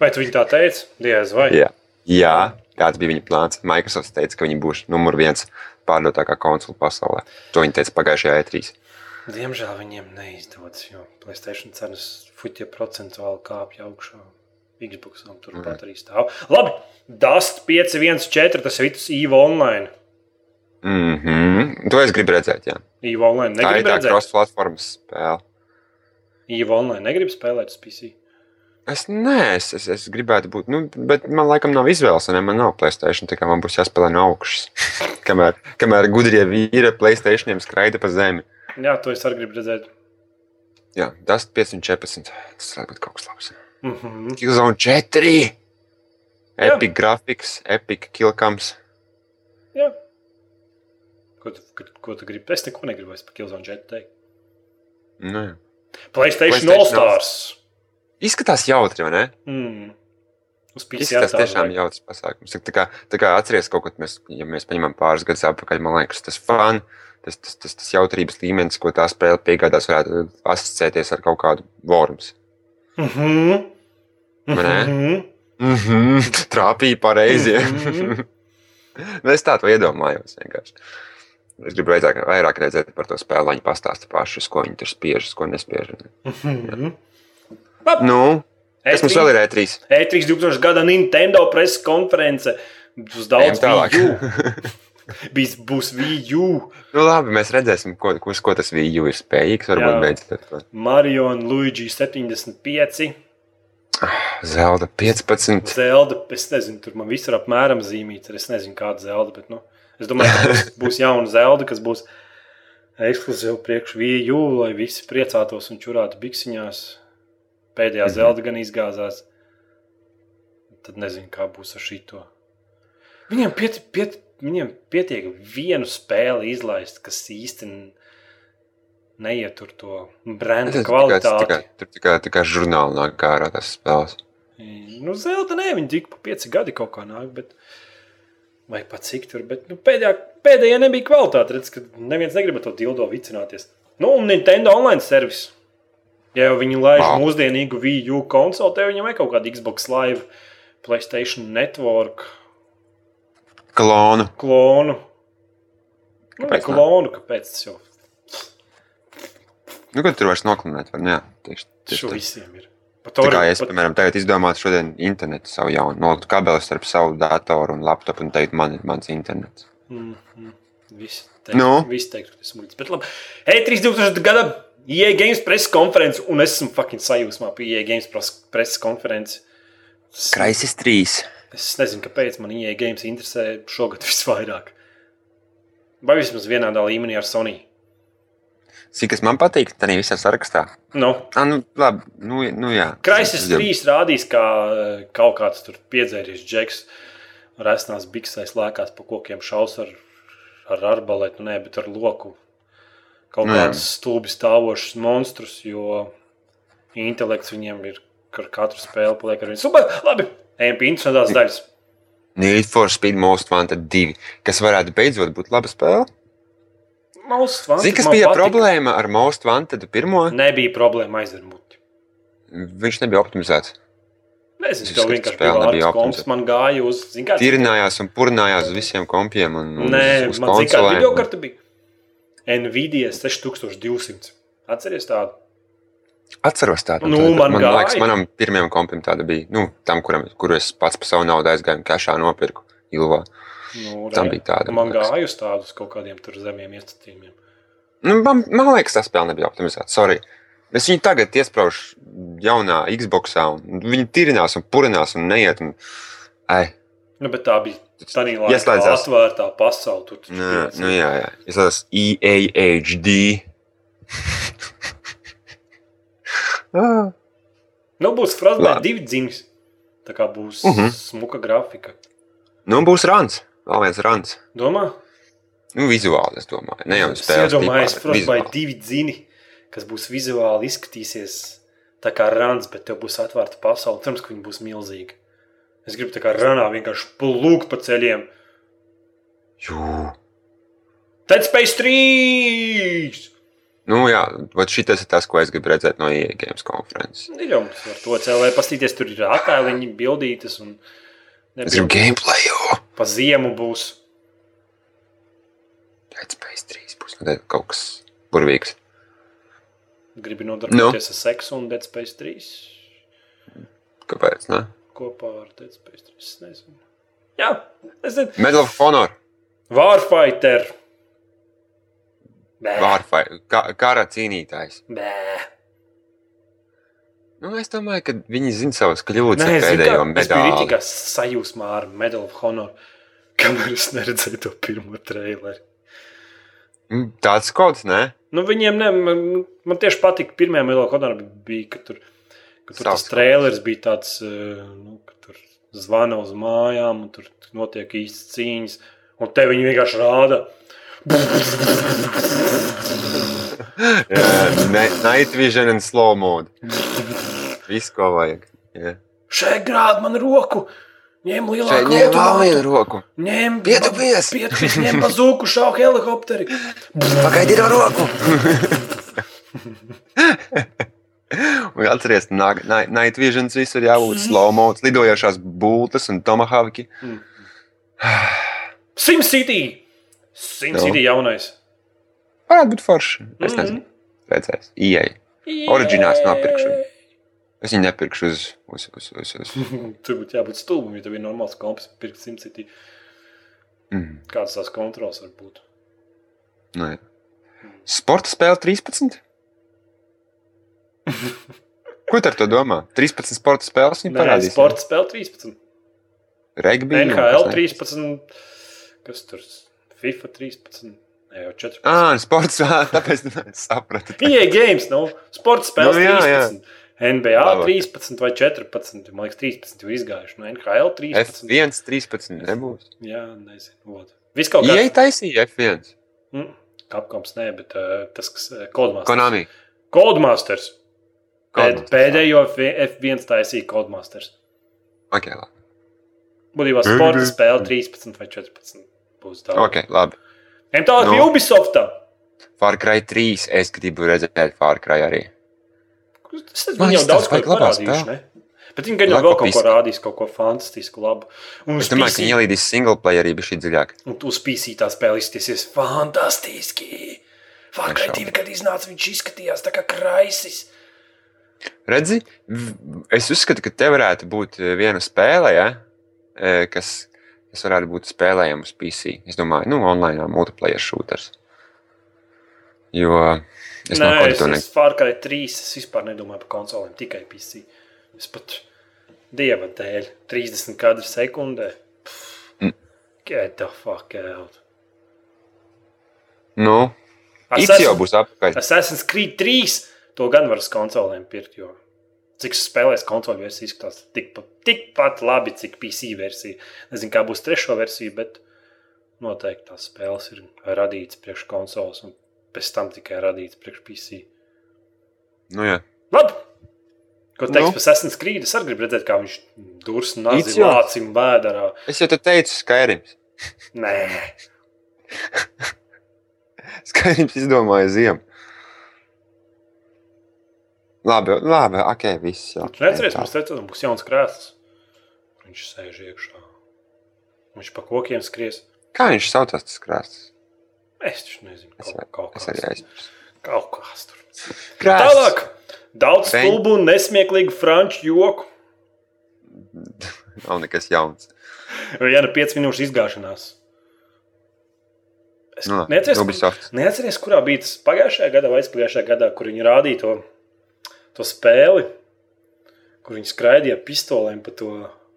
S1: vai tu viņu tā teici? Diez vai?
S2: Jā. Jā, kāds bija viņa plāns? Microsoft teica, ka viņi būs numur viens pārdotākā konsole pasaulē. To viņi teica pagājušajā E E3.
S1: Diemžēl viņiem neizdodas, jo Playstation cenas fuķa procentuāli kāpja augšā. Xbox turpat
S2: Mhm.
S1: arī stāv. Labi, Dust 514, tas ir Vitus EVE online.
S2: Mm -hmm. To es gribu redzēt. Jā.
S1: EVE online
S2: Tā ir
S1: negrib
S2: tā
S1: redzēt.
S2: cross-platformas spēle.
S1: EVE online negrib spēlēt uz PC.
S2: Es neesmu, es, es gribētu būt, nu, bet man laikam nav izvēles, un man nav Playstation, tā kā man būs jāspēlē no augšas. kamēr, kamēr gudrie vīri ar Playstationiem skraida pa zemi.
S1: Jā, to es arī gribu redzēt.
S2: Jā, tas 514. Tas varētu būt kaut kas labs.
S1: Mhm.
S2: Killzone 4!
S1: Jā.
S2: Epic grafiks, epic kilkams.
S1: Jā. Ko tu, ko, ko tu gribi? Es neko negribu, es par Killzone 4 teikt.
S2: Nu, jā.
S1: Playstation
S2: PlayStation
S1: All Stars.
S2: Izskatās jautri, vai ne?
S1: Mm. Uz PC
S2: Izskatās tiešām
S1: atstāt.
S2: jautrs pasākums. Tā kā, tā kā atceries kaut ko, mēs, ja mēs paņemam pāris gadus atpakaļ, man liekas, tas fan, tas, tas, tas, tas jautrības līmenis, ko tā spēle piegādās, varētu asociēties ar kaut kādu vorms.
S1: Mhm.
S2: Vai ne?
S1: Mhm.
S2: Mm -hmm. Trāpīja pareizi.
S1: Mhm.
S2: Nu, es tādu iedomājos vienkārši. Es gribu vairāk, vairāk redzēt par to spēli, lai viņi pastāsta pašus, ko viņi tur spiež, uz ko nespiež.
S1: Mhm. E
S2: Nu, kas mums vēl ir E E3?
S1: E3 2000 gada Nintendo preses konference. Būs daudz
S2: Ejam tālāk.
S1: tādu. Būs, būs Wii U,
S2: Nu, labi, mēs redzēsim, ko, ko, ko tas VU ir spējīgs. Varbūt
S1: Jā.
S2: beidzot to
S1: Mario un Luigi 75,
S2: Zelda 15.
S1: Zelda. Es nezinu, tur man viss ir apmēram zīmīts. ar Es nezinu, kāda Zelda, bet nu, es domāju, ka būs, būs jauna Zelda, kas būs ekskluzīva priekš Wii U, lai visi priecātos un čurātu biksiņās. Pēdējā
S2: Mhm.
S1: Zelda gan izgāzās. Tad nezinu, kā būs ar šito. Viņiem, piet, piet, viņiem pietiek vienu spēli izlaist, kas īsti n- neietur to brenda
S2: Tas tikai- tas
S1: kvalitāti.
S2: tikai- Tur tikai tā kā žurnāli nāk ārā tas spēles.
S1: Nu, Zelta nē, viņi tik pa pieci gadi kaut kā nāk. Bet... Vai pat cik tur, bet nu, pēdējā, pēdējā nebija kvalitāte. Redz, ka neviens negrib ar to dildo vicināties. Nu, un Nintendo online servis. Ja jau viņi laiž
S2: Vau.
S1: mūsdienīgu Wii U konsoli, tad viņam ir kaut kāda Xbox Live, PlayStation Network
S2: Klonu.
S1: klonu. Nu, vai
S2: Kāpēc ne?
S1: klonu, kāpēc tas jau
S2: Nu, kad tur vairs noklinēt, var ne? Tieši,
S1: šo
S2: tieši tā.
S1: visiem ir? Pat
S2: Tā
S1: Ori-
S2: kā es,
S1: pat-
S2: piemēram, tagad izdomātu šodien internetu savu jaunu, noliktu kabeli starp savu datoru un laptopu un teikt, man ir mans internets.
S1: Mm, mm. Visi
S2: Nu?
S1: teiktu, teikt, ka tas ir muļķis. Bet labi, E3 2000 gada IE Games preses konference, un es esmu fucking sajūsmā par IE Games pres- preses konferenci. Es,
S2: Crisis 3.
S1: es nezinu, kāpēc man IE Games interesē šogad visvairāk. Vai vismaz vienādā līmenī ar Sony.
S2: Cik tas man patīk, tad arī visā sarakstā.
S1: Nu,
S2: Ah, nu, labi, nu, nu jā.
S1: Kraisis
S2: Es jau-
S1: 3 rādīs, kā eh, kaut kāds tur piedzēries džeks, resnās biksēs lēkās pa kokiem, šaus ar, ar arbaletu, nē, bet ar loku. Kaut
S2: Nu, jā.
S1: kāds stulbi stāvošs monstrus, jo intelekts viņiem ir, ar katru spēli paliek ar vienu. Super, labi, ejam pie interesantās daļas.
S2: Need for Speed Most Wanted 2, kas varētu beidzot būt laba spēle.
S1: Most Wanted
S2: Zini, kas
S1: man
S2: bija
S1: patika.
S2: problēma ar Most Wanted pirmo?
S1: Nebija problēma aizvermuti.
S2: Viņš nebija optimizēts.
S1: Nezinu,
S2: Es
S1: tev
S2: uzskatu,
S1: vienkārši
S2: spēle
S1: bija
S2: nebija
S1: vārds komps,
S2: optimizēta.
S1: man gāja uz, zini, kāds
S2: Tirinājās un purinājās uz visiem kompiem un, un
S1: Nē,
S2: Nu, uz, uz
S1: man zina, kāda
S2: konsolēm. nu.
S1: video karte bija. Nvidia 6200. Atcerieties tādu.
S2: Atceros tādu.
S1: Nu,
S2: tādu.
S1: man
S2: man
S1: gāja.
S2: liekas, manam pirmajam kompim tāda bija. Nu, tam, kuram, kuru es pats par savu naudu aizgāju, kašā nopirku. Ilvā.
S1: Nu,
S2: Tam
S1: re,
S2: bija tāda,
S1: Man
S2: man liekas.
S1: gāja uz tādus kaut kādiem tur zemiem iestatījumiem.
S2: Nu, man, man liekas, tā spēle nebija optimizēta. Sorry. Es viņu tagad iesprāžu jaunā Xbox, un viņi tirinās un purinās un neiet. Un... Ai,
S1: Nu, bet tā bija tā līnija, kas bija
S2: Ieslēdzās.
S1: atvērta pasaule. Tur
S2: nē, nu, jā, jā. Es E tās EAHD. Ah.
S1: nu, būs fragments,
S2: Labi.
S1: divi dzimis. Tā kā būs uh
S2: Mhm.
S1: -huh. smuka grafika.
S2: nu, būs rāns. Vēl viens rāns.
S1: Domā,
S2: Nu, vizuāli, es domāju. Ne jau
S1: es
S2: spēles
S1: iedomājos,
S2: tipā,
S1: protams, vai
S2: vizuāli.
S1: divi dzini, kas būs vizuāli izskatīsies tā kā rāns, bet tev būs atvērta pasaule. Cerams, ka viņi būs milzīgi. Es gribu tā kā ranā vienkārši plūkt pa ceļiem.
S2: Jū.
S1: Tad spēj strīdus!
S2: Nu, jā, šis ir tas, ko es gribu redzēt no EA Games konferences.
S1: Ir jau mums ar to cēlēju, paskatīties, tur ir attēliņi, bildītas un
S2: Es gribu gameplay, jo
S1: pa ziemu būs.
S2: Dead Space 3 būs nu, tad kaut kas burvīgs.
S1: Gribu
S2: Nu.
S1: nodarboties ar seksu un Dead Space 3
S2: Kāpēc? Ne?
S1: kopā ar Dead Space 3. Es nezinu. Jā, es nezinu.
S2: Medal of Honor,
S1: Warfighter. Bē,
S2: Warfare, ka, kara cīnītājs.
S1: bē.
S2: Nu, es domāju, ka viņi zina savas kļūdas
S1: Nē,
S2: ar
S1: es zinu,
S2: pēdējo
S1: kā- es biju
S2: medaļu.
S1: tikai sajūsmā ar Medal of Honor, kamēr es neredzēju to pirmo traileri.
S2: Mm, Tāds kods, nē,
S1: Nu, viņiem ne, man, man tieši patika, pirmā Medal of Honor bija, ka tur, ka tur tas
S2: Savs.
S1: trailers bija tāds, eh, nu, ka tur zvana uz mājām, un tur notiek īstas cīņas, un te viņi vienkārši rāda.
S2: Eh, Night Vision un Slow Mode. Viss, ko vajag. Jā.
S1: Šai grāmatā man roku ņem
S2: Šeit
S1: lielāku
S2: ņem vēl
S1: automātu,
S2: vienu roku.
S1: ņem
S2: Pietupies!
S1: Pietupies, ņem bazūku, šauku helikopteri.
S2: Pagaidi ar roku! Un atcerieties, ka Night Vision viss ir jābūt slow mode, lidojošās būtnes un tomahawki.
S1: Mm. SimCity! SimCity jaunais.
S2: Varētu būt Ah, forši. Nu? Es nezinu, redzēs. Ieej.
S1: Mhm.
S2: Oriģināls nopirkšu. Es viņu nepirkšu uz, uz, uz, uz, uz.
S1: Tur būtu jābūt stulbam, ja tev ir normāls komps, pirkt SimCity.
S2: Mm.
S1: Kādas tās kontrols var būt?
S2: Nu, jā. Sporta spēle 13. Ko tu ar to domā? 13 sporta spēles viņa
S1: Nē,
S2: parādīs.
S1: sporta spēle 13,
S2: Regbi. un
S1: NHL
S2: kas ne?
S1: 13, kas tur FIFA 13, ne, jau 14.
S2: Ā, ah, sports. ā, Tāpēc es sapratu.
S1: EA games, nu, sporta spēles
S2: Nu,
S1: nu,
S2: jā, jā.
S1: 13. NBA
S2: Labāk.
S1: 13 vai 14. Man liekas, 13 jau izgājuši. No NHL 13.
S2: F1, 13. Nebūs.
S1: Jā, nezinu. Vod. Viss kaut
S2: Ieej,
S1: kāds.
S2: taisīja F1.
S1: Mm, Kapkams, nē, bet uh, tas, kas uh, Codemasters.
S2: Konami.
S1: Codemasters. Pēd,
S2: Codemasters.
S1: pēdējo F1 taisīja Codemasters.
S2: Ok, labi.
S1: Būtībā sporta spēle 13 vai 14. Būs tā.
S2: Okay, labi.
S1: Ejam tālāk pie
S2: Nu.
S1: Ubisofta.
S2: Far Cry 3. Es gribu redzēt Far Cry arī.
S1: Tas tas
S2: Man
S1: viņi jau daudz
S2: liekas, tas
S1: ko
S2: vajag
S1: ir
S2: labā
S1: parādījuši. Ne?
S2: spēlē.
S1: Bet viņi gan jau
S2: Laka
S1: vēl kaut ko
S2: piska.
S1: rādīs, kaut ko fantastisku, labu. Un
S2: Es domāju, ka viņi ielīdīs single player arī bišķi dziļāk.
S1: Un tu spīsīji tā spēle izskatīsies fantastiski. Fārkai
S2: Nešaubu.
S1: divi, kad iznāca, viņš izskatījās tā kā kraisis.
S2: Redzi, v- es uzskatu, ka te varētu būt eh, viena spēle, ja? eh, kas, kas varētu būt spēlējama uz PC. Es domāju, nu, online multiplayer shooters. Jo es
S1: Nē,
S2: no kaut
S1: es,
S2: kā
S1: es Fārkai trīs, es vispār nedomāju par konsolēm, tikai PC. Es pat dieva dēļ, 30 kadru sekundē. Pff,
S2: Mm.
S1: Get the fuck out.
S2: Nu, It's jau
S1: Assassin-
S2: būs apakaļ.
S1: Assassin's Creed 3 to gan var uz konsolēm pirkt, jo cik spēlēs konsolu versija izskatās tikpat tik pat labi, cik PC versija. Nezinu, kā būs trešo versija, bet noteikti tās spēles ir radītas priekš konsoles un pēc tam tikai radītas priekš PC.
S2: Nu, jā.
S1: Labi! Ko teiks
S2: Nu.
S1: par Assassin's Creed? Es arī gribu redzēt, kā viņš durs un
S2: It
S1: nācis
S2: jau.
S1: lācim vēdā.
S2: Es jau te teicu, Skyrims.
S1: Nē,
S2: Skyrims izdomāja ziemu. Labi, labi, ok, viss. Jā,
S1: tur redzēs, mums teica, ka būs jauns krēsls. Viņš sēž iekšā. Viņš pa kokiem skries.
S2: Kā viņš saucās tas krāsts?
S1: Es taču nezinu,
S2: Es
S1: kaut,
S2: vai-
S1: kaut
S2: Es
S1: kāds-
S2: arī aizmirsu.
S1: kaut kāds tur.
S2: Krāsts.
S1: Tālāk, daudz
S2: Veņ-
S1: stulbu un nesmieklīgu franču joku.
S2: Nav nekas jauns.
S1: Viena pieci minūšu izgāšanās. Es
S2: Nu,
S1: neatceros, kur,
S2: Ubisoft.
S1: neatceries, kurā bija tas pagājušajā gadā vai aizpagājušajā gadā, kur viņi rādīja to, to spēli, kur viņi skraidīja ar pistolēm pa to,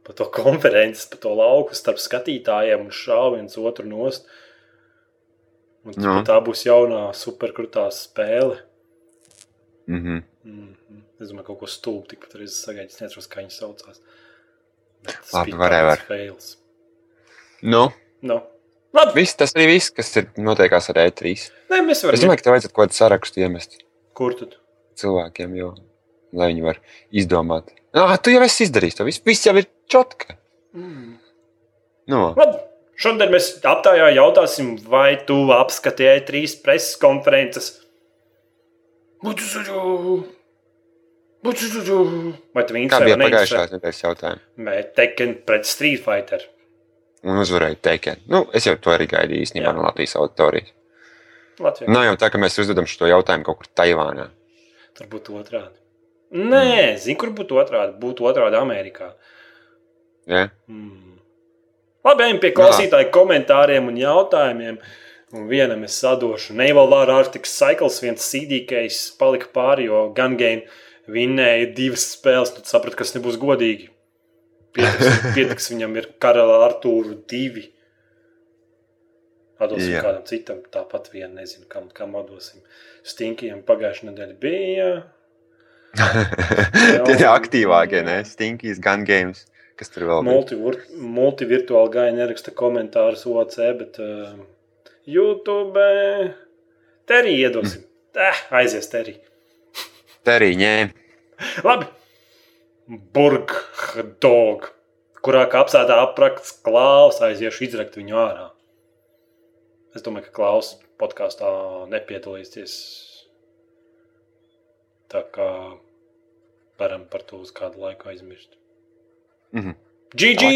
S1: pa to konferences, pa to lauku starp skatītājiem un šāva viens otru nost. Un,
S2: Nu.
S1: Tā būs jaunā superkrutā spēle.
S2: Mhm.
S1: Mhm. Es domāju, ka kaut ko stulbu tikpat arī sagaidīju. Es nezinu, kā viņi saucās. Bet tas
S2: Labi,
S1: bija
S2: whatever.
S1: tāds fails.
S2: Nu,
S1: No. Labi,
S2: viss, tas arī viss, kas ir notiekās ar E3.
S1: Nē, mēs
S2: Es
S1: varam.
S2: domāju, ka tev vajadzētu kaut kādu sarakstu iemest
S1: Kur tad?
S2: cilvēkiem, Ah, jo, lai viņi var izdomāt. Nā, tu jau esi izdarījis to visu. Viss jau ir čotka. Nu,
S1: Mm. Labi. Šodien mēs aptājā jautāsim, vai tu apskatīji trīs preses konferences. Bucucucu! Bucucucu! Vai tu
S2: kā
S1: viņus
S2: bija pagājušā nedēļas jautājumā?
S1: Vai Tekken pret Street Fighter?
S2: Un uzvarēju Teikenu. Nu, es jau to arī gaidīju īstenībā
S1: Jā.
S2: no Latvijas auditorijas.
S1: Latvijā.
S2: Nav jau tā, ka mēs uzdodam šo jautājumu kaut kur Taivānā.
S1: Tur būtu otrādi.
S2: Mm.
S1: Nē, zinu, kur būtu otrādi. Būtu otrādi Amerikā.
S2: Ja?
S1: Mm. Labi, ejam pie klausītāju komentāriem un jautājumiem. Un vienam es sadošu. Neivalvāra Arctic Cycles, viens CDKs palika pāri, jo Gun Game vinnēja divas spēles. Tad sapratu, kas nebūs godīgi. Pietiks, pietiks viņam ir karaļa Artūru divi. Atdosim
S2: Jā.
S1: yeah. kādam citam, tāpat vienu nezinu, kam, kam atdosim. Stinkajam pagājušajā nedēļā bija.
S2: Tie ir aktīvākie, ne? Stinkijas, Gun Games, kas tur vēl bija.
S1: Multivir- Multivirtuāli gāja neraksta komentārus OC, bet uh, YouTube te arī iedosim. Eh, aizies te arī.
S2: Tā arī ņēma.
S1: Labi. Burgdog, kurā kapsētā aprakts klaus, aiziešu izrakt viņu ārā. Es domāju, ka klaus podkāstā nepiedalīsies. Tā kā varam par to uz kādu laiku aizmirst.
S2: Mhm.
S1: GG!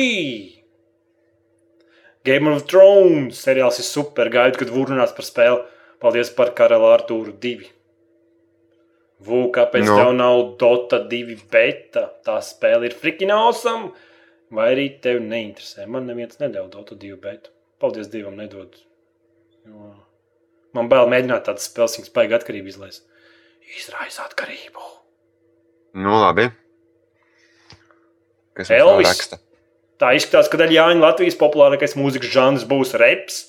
S1: Game of Thrones seriāls ir super. Gaidu, kad runās par spēli. Paldies par karaļa Artūru 2. Vū, kāpēc no.
S2: Nu.
S1: tev nav Dota 2 beta? Tā spēle ir frikina awesome. Vai arī tev neinteresē? Man neviens nedod Dota 2 beta. Paldies Dievam, nedod. Jo... Man bail mēģināt tādas spēles, viņas spēja atkarību izlaist. Izraisa atkarību.
S2: Nu, labi. Kas mums vēl
S1: Elvis.
S2: raksta?
S1: Tā izskatās, ka daļai Jāņa Latvijas populārākais mūzikas žanrs būs reps.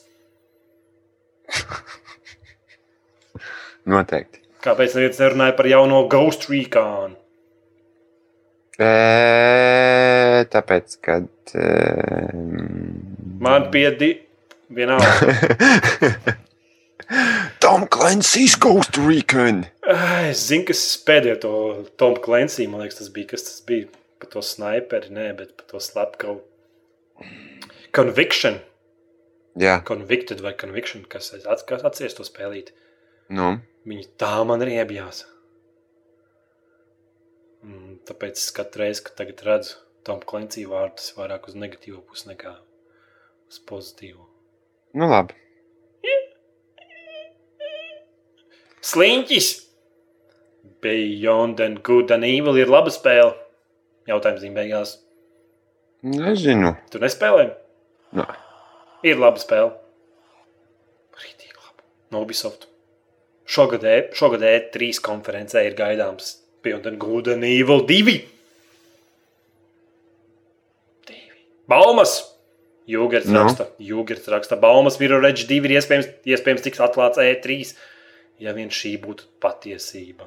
S2: Noteikti.
S1: Kāpēc neviens nerunāja par jauno Ghost Recon?
S2: E, tāpēc, kad. E,
S1: Man piedi, vienalga.
S2: Tom Clancy's Ghost Recon!
S1: Ai, Es zinu, kas pēdējo to Tomu Clancy, man liekas, tas bija. Kas tas bija? Par to sniperi, nē, bet par to slepkavu. Conviction,
S2: Jā,
S1: convicted vai conviction, kas aiz- kas atceries to spēlīt.
S2: nu,
S1: Viņa tā man arī iebijās. Mm, Tāpēc es katru reizi, kad tagad redzu Tomu Clancy vārdu, tas ir vairāk uz negatīvo pusi nekā uz pozitīvo.
S2: nu labi.
S1: Sliņķis! Beyond and Good and Evil ir laba spēle. Jautājums viņa beigās.
S2: Nezinu. Nu,
S1: Tu nespēlē?
S2: Nē.
S1: Ir laba spēle. Rītīgi laba. No Ubisoft. Šogad, e, šogad E3 konferencē ir gaidāms Beyond and Good and Evil 2. Divi. Baumas! Jūgers
S2: Nu?
S1: raksta, Jūgers raksta, Baumas Mirror Edge 2 ir iespējams, iespējams tiks atklāts E3, ja vien šī būtu patiesība.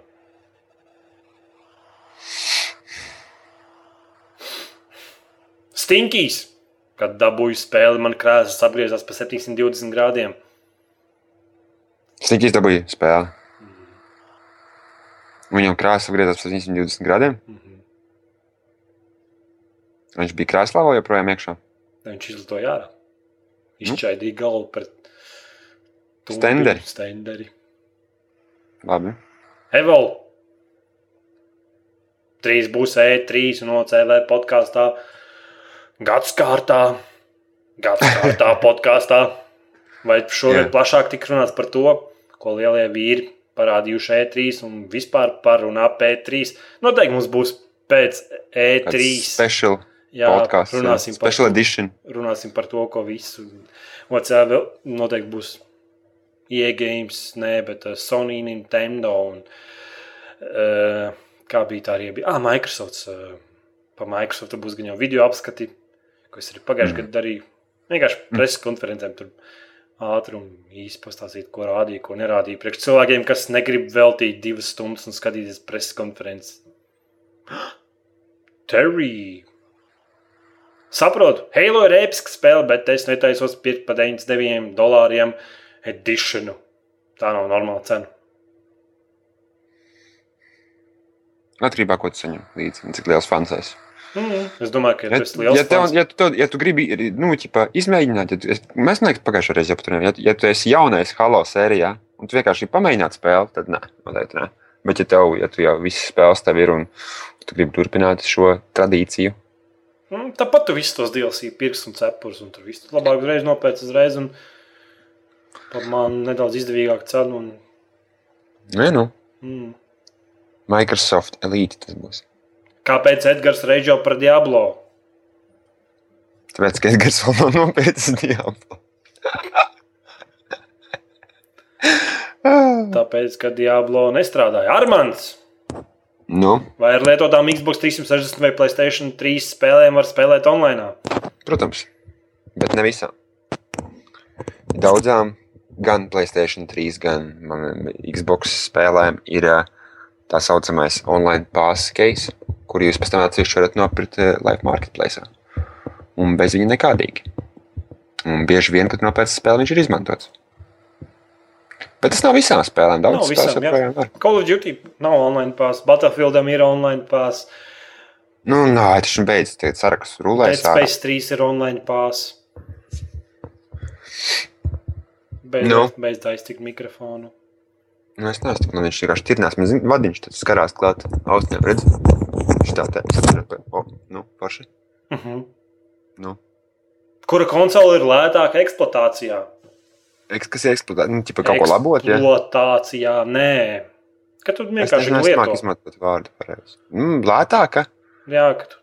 S1: Stinkīs, kad dabūju spēli, man krāsas apgriezās pa 720 grādiem.
S2: Sniķis dabūja spēli. Viņam krāsa griezās pa 720 grādiem.
S1: Mhm.
S2: Viņš bija krēslā vēl joprojām iekšā.
S1: Tad Viņš izlidoja ārā. Izšķaidīja galvu pret tumpi-
S2: Stenderi.
S1: Stenderi.
S2: Labi.
S1: Evolu. Trīs būs E3 un OCLV podkāstā. Gads kārtā, gads kārtā podkāstā. Vai šodien
S2: Jā.
S1: plašāk tika runāts par to, ko lielie vīri parādījuši E3 un vispār par un ap E3? Noteikti mums būs pēc E3.
S2: Special
S1: Jā,
S2: podkāsts.
S1: runāsim par
S2: Special edition.
S1: runāsim par to, ko visu. Vācijā vēl noteikti būs iegames, nē, bet uh, Sony, Nintendo un uh, kā bija tā arī bija. Ah, Microsoft. Uh, pa Microsoft tur būs gan jau video apskati, ko es arī pagājušajā mm. gadā darīju. Vienkārši preses konferencēm tur ātri un īsi pastāstīt, ko rādīja, ko nerādīja. Priekš cilvēkiem, kas negrib veltīt divas stundas un skatīties preses konferences. Terry! Saprotu, Halo ir episka spēle, bet es netaisos pirkt par 99 dolāriem editionu. Tā nav normāla cena.
S2: Atkarībā no tā, ko tu saņem līdzi, un cik liels fans esi.
S1: Mm. Es domāju, ka ja
S2: Ja,
S1: tas ir liels.
S2: ja, tev,
S1: fans-
S2: ja, tu, tev- ja tu gribi nu, ķipa, izmēģināt, ja tu, es, mēs nemanām, ka pagājušajā reizē jau par to runājām. Ja, ja tu esi jaunais Halo sērijā un tu vienkārši pamēģināji spēli, tad nē, noteikti nē. Bet, ja tev ja tu jau viss spēles tev ir un tu gribi turpināt šo tradīciju,
S1: Mm, Tāpat tu visus tos DLC pirks un cepures, un tur viss tur labāk uzreiz nopērts uzreiz, un par man nedaudz izdevīgāku cenu. Un,
S2: nē, nu,
S1: mm.
S2: Microsoft Elite tas būs.
S1: Kāpēc Edgars Reģio par Diablo?
S2: Tāpēc, ka es gars vēl nav nopietns diablo.
S1: Tāpēc, ka Diablo nestrādāja Armands.
S2: nu,
S1: Vai ar lietotām Xbox 360 vai Playstation 3 spēlēm var spēlēt online?
S2: protams, bet ne visām. Daudzām, gan Playstation 3, gan man- Xbox spēlēm ir ā, tā saucamais online pass case, kur jūs pēc tam atsevišķi varat nopirkt ā, Live Marketplace. Un bez viņa nekādīgi. Un bieži vien, kad nopērts spēle, viņš ir izmantots. Bet tas nav visām spēlēm.
S1: Nav
S2: Daudz
S1: visām, jā.
S2: spēlēm joprojām var.
S1: Call of Duty nav online pass, Battlefieldam ir online pass,
S2: Nu, nē, tas ir beidzies. Tie saraksts rulēs.
S1: Dead Space 3 ir online pass. Beidz, no.
S2: Nu.
S1: beidz taisīt mikrofonu.
S2: Nu, es nezinu, man viņš vienkārši tirnās. Man zin, vadiņš tad skarās klāt austiem, redz? Viņš tā tā, es atceru, ka, o, nu, paši.
S1: Uh -huh.
S2: Nu.
S1: Kura konsole ir lētāka eksploatācijā?
S2: Eks, kas ir eksploatēt? Nu, ķipa kaut ko labot, ja?
S1: Eksploatācijā, nē. Kad tu
S2: Es
S1: vienkārši
S2: nezinu, es māku
S1: lieto.
S2: izmantot vārdu pareizi. Mm, lētāka?
S1: Jā, ka tu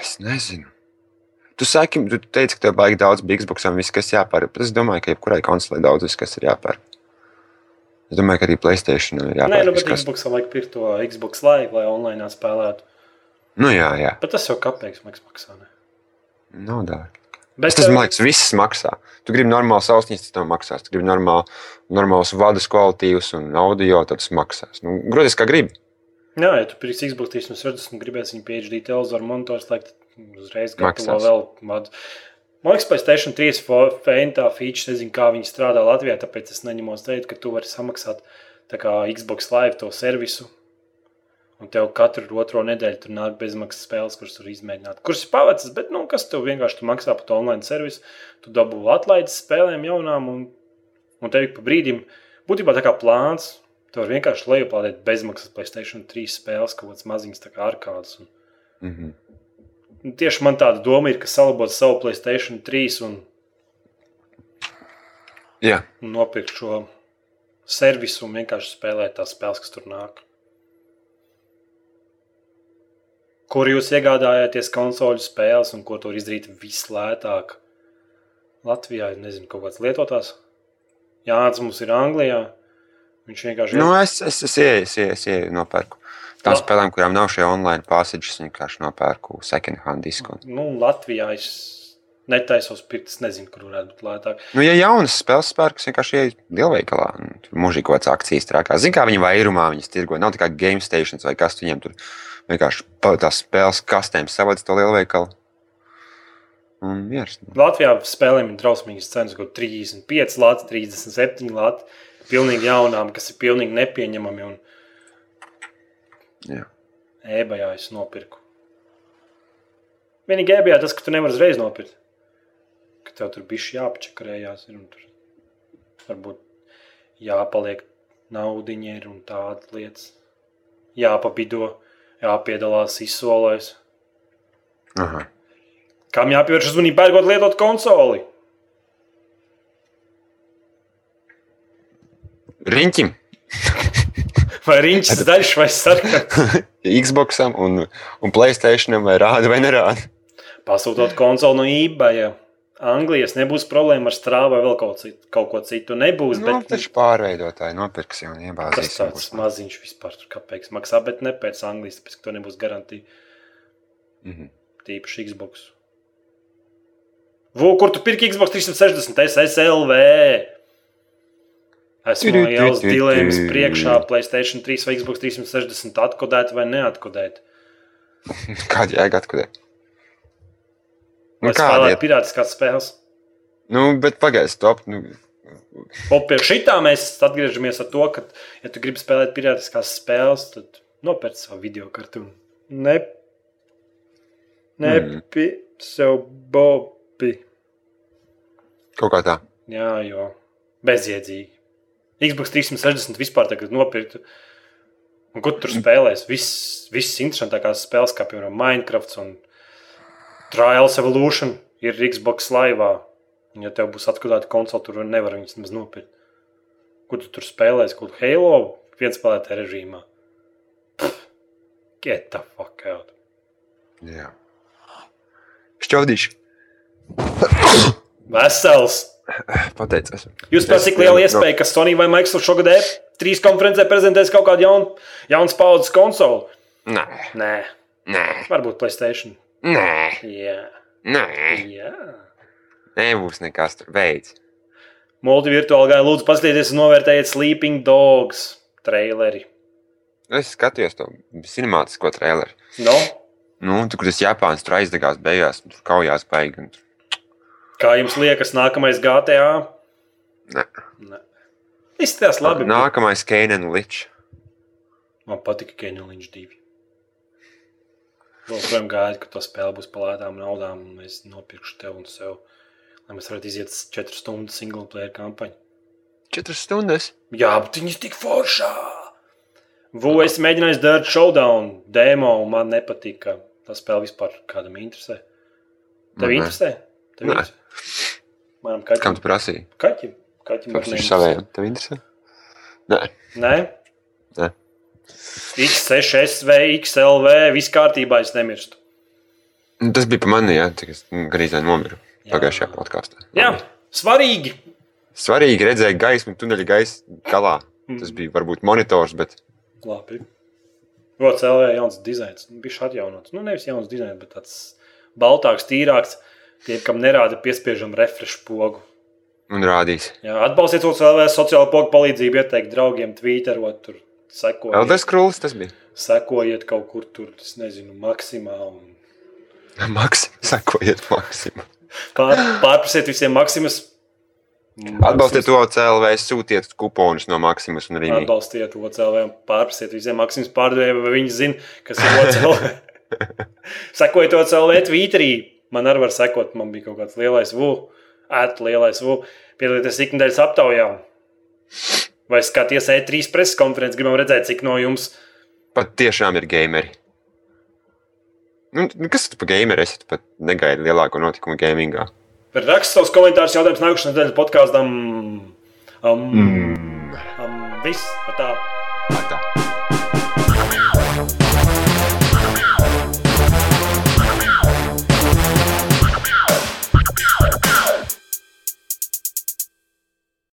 S2: Es nezinu. Tu saki, tu teici, ka tev baigi daudz bija Xbox un viss, kas jāpērk. Bet es domāju, ka jebkurai konsolē daudz viss, kas ir jāpērk. Es domāju, ka arī Playstation ir jāpērk.
S1: Nē, nu,
S2: viss,
S1: bet
S2: kas...
S1: Xbox vajag pirkt to Xbox Live, lai online spēlētu.
S2: Nu, jā, jā.
S1: Bet tas jau kāpēc man maksā. Ne?
S2: Nav dārgi.
S1: Bet,
S2: Bet tas,
S1: eh,
S2: man liekas, viss maksā. Tu gribi normālu austiņas, tas tev maksās. Tu gribi normālu, normālus vadus kvalitīvus un audio, tad tas maksās. Nu, Grūtīs, kā gribi.
S1: jā, ja tu pirksi Xbox 360 un gribēsi viņu PhD televizoru monitors, lai tad uzreiz gatavo
S2: Maksās.
S1: vēl vadu. Man liekas, Playstation 3 fo- feintā feature, nezinu, kā viņi strādā Latvijā, tāpēc es neņemos teikt, ka tu vari samaksāt tā kā Xbox Live to servisu. Un tev katru otro nedēļu tur nāk bezmaksas spēles, kuras tur izmēģināt. Kuras ir pavācis, bet nu, kas tev vienkārši tu maksā par to online servisu? Tu dabū atlaides spēlēm jaunām, un, un tev ik pa brīdim būtībā tā kā plāns. Tu vari vienkārši lejuplādēt bezmaksas Playstation 3 spēles, kaut kādas maziņas, tā kā ārkārtas. Un,
S2: Mm -hmm.
S1: un tieši man tāda doma ir, ka salabot savu Playstation 3 un,
S2: Jā,
S1: un nopirkt šo servisu un vienkārši spēlēt tās spēles, kas tur nāk. Kur jūs iegādājāties konsoli spēles un ko tur izdarīt vislētāk? Latvijā ir nezinu, kaut kāds lietotājs. Jā, tas mums ir Anglijā. Viņš vienkārši
S2: nu, es, es, es ieeju, es ieeju, es ieeju nopērku. Tām
S1: Labi.
S2: spēlēm, kurām nav šie online pārsēdžas, vienkārši nopērku second hand disku. Un...
S1: nu, Latvijā es netaisos pirkt, es nezinu, kur varētu būt lētāk.
S2: Nu, ja jaunas spēles spērks, vienkārši ieeju lielveikalā. un Tur mūžīgi kaut kāds akcijas trākā. Zini, kā viņi vairumā viņas tirgo. Nav tā kā game stations vai kas viņiem tur vienkārši pa- tās spēles kastēm savāc to lielveikalu. Un miers. nu,
S1: Latvijā spēlēm ir drausmīgas cenas, kaut 35 lati, 37 lati. Pilnīgi jaunām, kas ir pilnīgi nepieņemami. Un...
S2: Jā.
S1: Ebajā es nopirku. Vienīgi ebajā tas, ka tu nevari uzreiz nopirkt. Ka tev tur bija jāapčakarējās. Ir, un tur varbūt jāpaliek naudiņai un tādas lietas. Jāpabido, jāpiedalās izsolēs.
S2: Aha.
S1: Kam jāpievērš uzmanība, pērkot lietot konsoli?
S2: Riņķim,
S1: Vai riņķis daļš vai sarkans?
S2: Xbox un, un Playstation vai rāda vai nerāda.
S1: Pasūtot konsoli no eBay. Anglijas nebūs problēma ar strāvu vai vēl kaut, cit, kaut ko citu. Nebūs,
S2: Nu,
S1: bet
S2: taču pārveidotāji nopirks un
S1: tas
S2: iebāzīs.
S1: tāds maziņš vispār tur kāpēc maksā, bet ne pēc Anglijas, tāpēc, ka to nebūs garantīta
S2: Mhm.
S1: tīpaši Xbox. Vū, kur tu pirki Xbox 360 SSLV? Esmu
S2: Tiru,
S1: jau uz
S2: tiru,
S1: dilemmas
S2: tiru.
S1: priekšā, Playstation 3 vai Xbox 360 atkodēt vai neatkodēt.
S2: Kāda jēga atkudē? Nu,
S1: Vai
S2: kāda
S1: spēlēt
S2: ir?
S1: pirātiskās spēles?
S2: Nu, bet pagaidi, stop. Nu,
S1: Un pie šitā mēs atgriežamies pie tā, ka, ja tu gribi spēlēt pirātiskās spēles, tad nopērci savu video kartu. Ne, nepi mm. sev bobi.
S2: Kaut kā tā.
S1: Jā, jo bezjēdzīgi. Xbox 360 vispār tagad nopirktu. Un kur tur spēlēs? Viss, viss interesantākās spēles, kā piemēram Minecraft un Trials Evolution, ir Xbox laivā. Un, ja tev būs atklāta konsole, tur nevar viņas nemaz nopirkt. Kur tu tur spēlēs? Kur Halo vienspēlētā režīmā? Pff, get the fuck out!
S2: Jā. Šķaudīšu.
S1: Vesels!
S2: Pateicis.
S1: Jūs pats cik liela iespēja, ka Sony vai Microsoft šogad E3 konferencē prezentēs kaut kādu jaunu, jaunu paudzes konsoli?
S2: Nē,
S1: Nē,
S2: nē,
S1: varbūt Playstation.
S2: nē,
S1: Jā,
S2: nē.
S1: jā.
S2: Nebūs nekas tur veids.
S1: Multivirtuāli gāja, lūdzu, paskatieties, un novērtējiet Sleeping Dogs traileri.
S2: Nu, Es skatījos to cinemātisko traileru.
S1: No?
S2: Nu, tur, kur tas Japāns tur aizdegās beigās, un tur kaujās baigi. un tur-
S1: Kā jums liekas, nākamais GTA?
S2: Nē.
S1: Nē. Izskatās labi. bet
S2: Nākamais Keinan Ličs.
S1: Man patika Keņģeļņš divi. Vēl joprojām gaidu, ka to spēle būs palētām naudām, un es nopirkšu tev un sev. Lai mēs varētu iziet 4 stundu single player kampaņu.
S2: Četras stundas.
S1: Jā, bet viņas tik foršā! Vu, es mēģināju darīt showdown demo, un man nepatika. Tā spēle vispār kādam interesē. Tev
S2: Nē.
S1: interesē? Tev
S2: Nē.
S1: interesē? Manam
S2: Kam
S1: kaķim.
S2: tu prasīji?
S1: Kaķim? Kaķim
S2: Par
S1: var
S2: viņš
S1: neinteresē.
S2: savējiem. Tev interesē? Nē.
S1: Nē?
S2: Nē.
S1: X6, SV, XLV, viss kārtībā es nemirstu.
S2: Nu, Tas bija pa mani, jā. Tik es nu, gandrīz vai nomiru
S1: Jā.
S2: pagājušajā podkāstā.
S1: Jā, svarīgi.
S2: Svarīgi redzēt gaismu tuneļa gaisa galā.
S1: Mm.
S2: Tas bija varbūt monitors, bet
S1: Labi. Vocēlē jauns dizains. Nu, Bišķi atjaunots. Nu, nevis jauns dizains, bet tāds baltāks, tīrāks. Tiem, kam nerāda, piespiežam refresh pogu.
S2: un rādīs.
S1: Jā, atbalstiet Vocēlē sociālo pogu palīdzību, ieteikt draugiem, tvīterot, tur
S2: Elder
S1: sekojiet.
S2: Scrolls tas bija.
S1: Sekojiet kaut kur tur, es nezinu, maksimā. Un...
S2: Maks, sakojiet, maksimum.
S1: Pār, pārprasiet visiem maksimas.
S2: Atbalstiet to CLV, sūtiet kuponus no Maksimas un Rīgas.
S1: Atbalstiet OCLV, pārprasiet visiem maksimumu pārdevējiem, vai viņi zina, kas ir OCLV. Sekojiet OCLV E Twitterī. Man arī var sekot, man bija kaut kāds lielais vu, ēta lielais vu. Piedalieties ikdienas aptaujā. Vai skaties E3 preses konferences, gribam redzēt, cik no jums
S2: Pat tiešām ir gameri. Nu, nu, kas tu par gameri esi? Tu pat negaidi lielāko notikumu gamingā.
S1: raksta savus komentārus, jautājumus nākamajā nedēļas podkāstam. Um, um,
S2: Mm.
S1: viss, tā.
S2: Tā.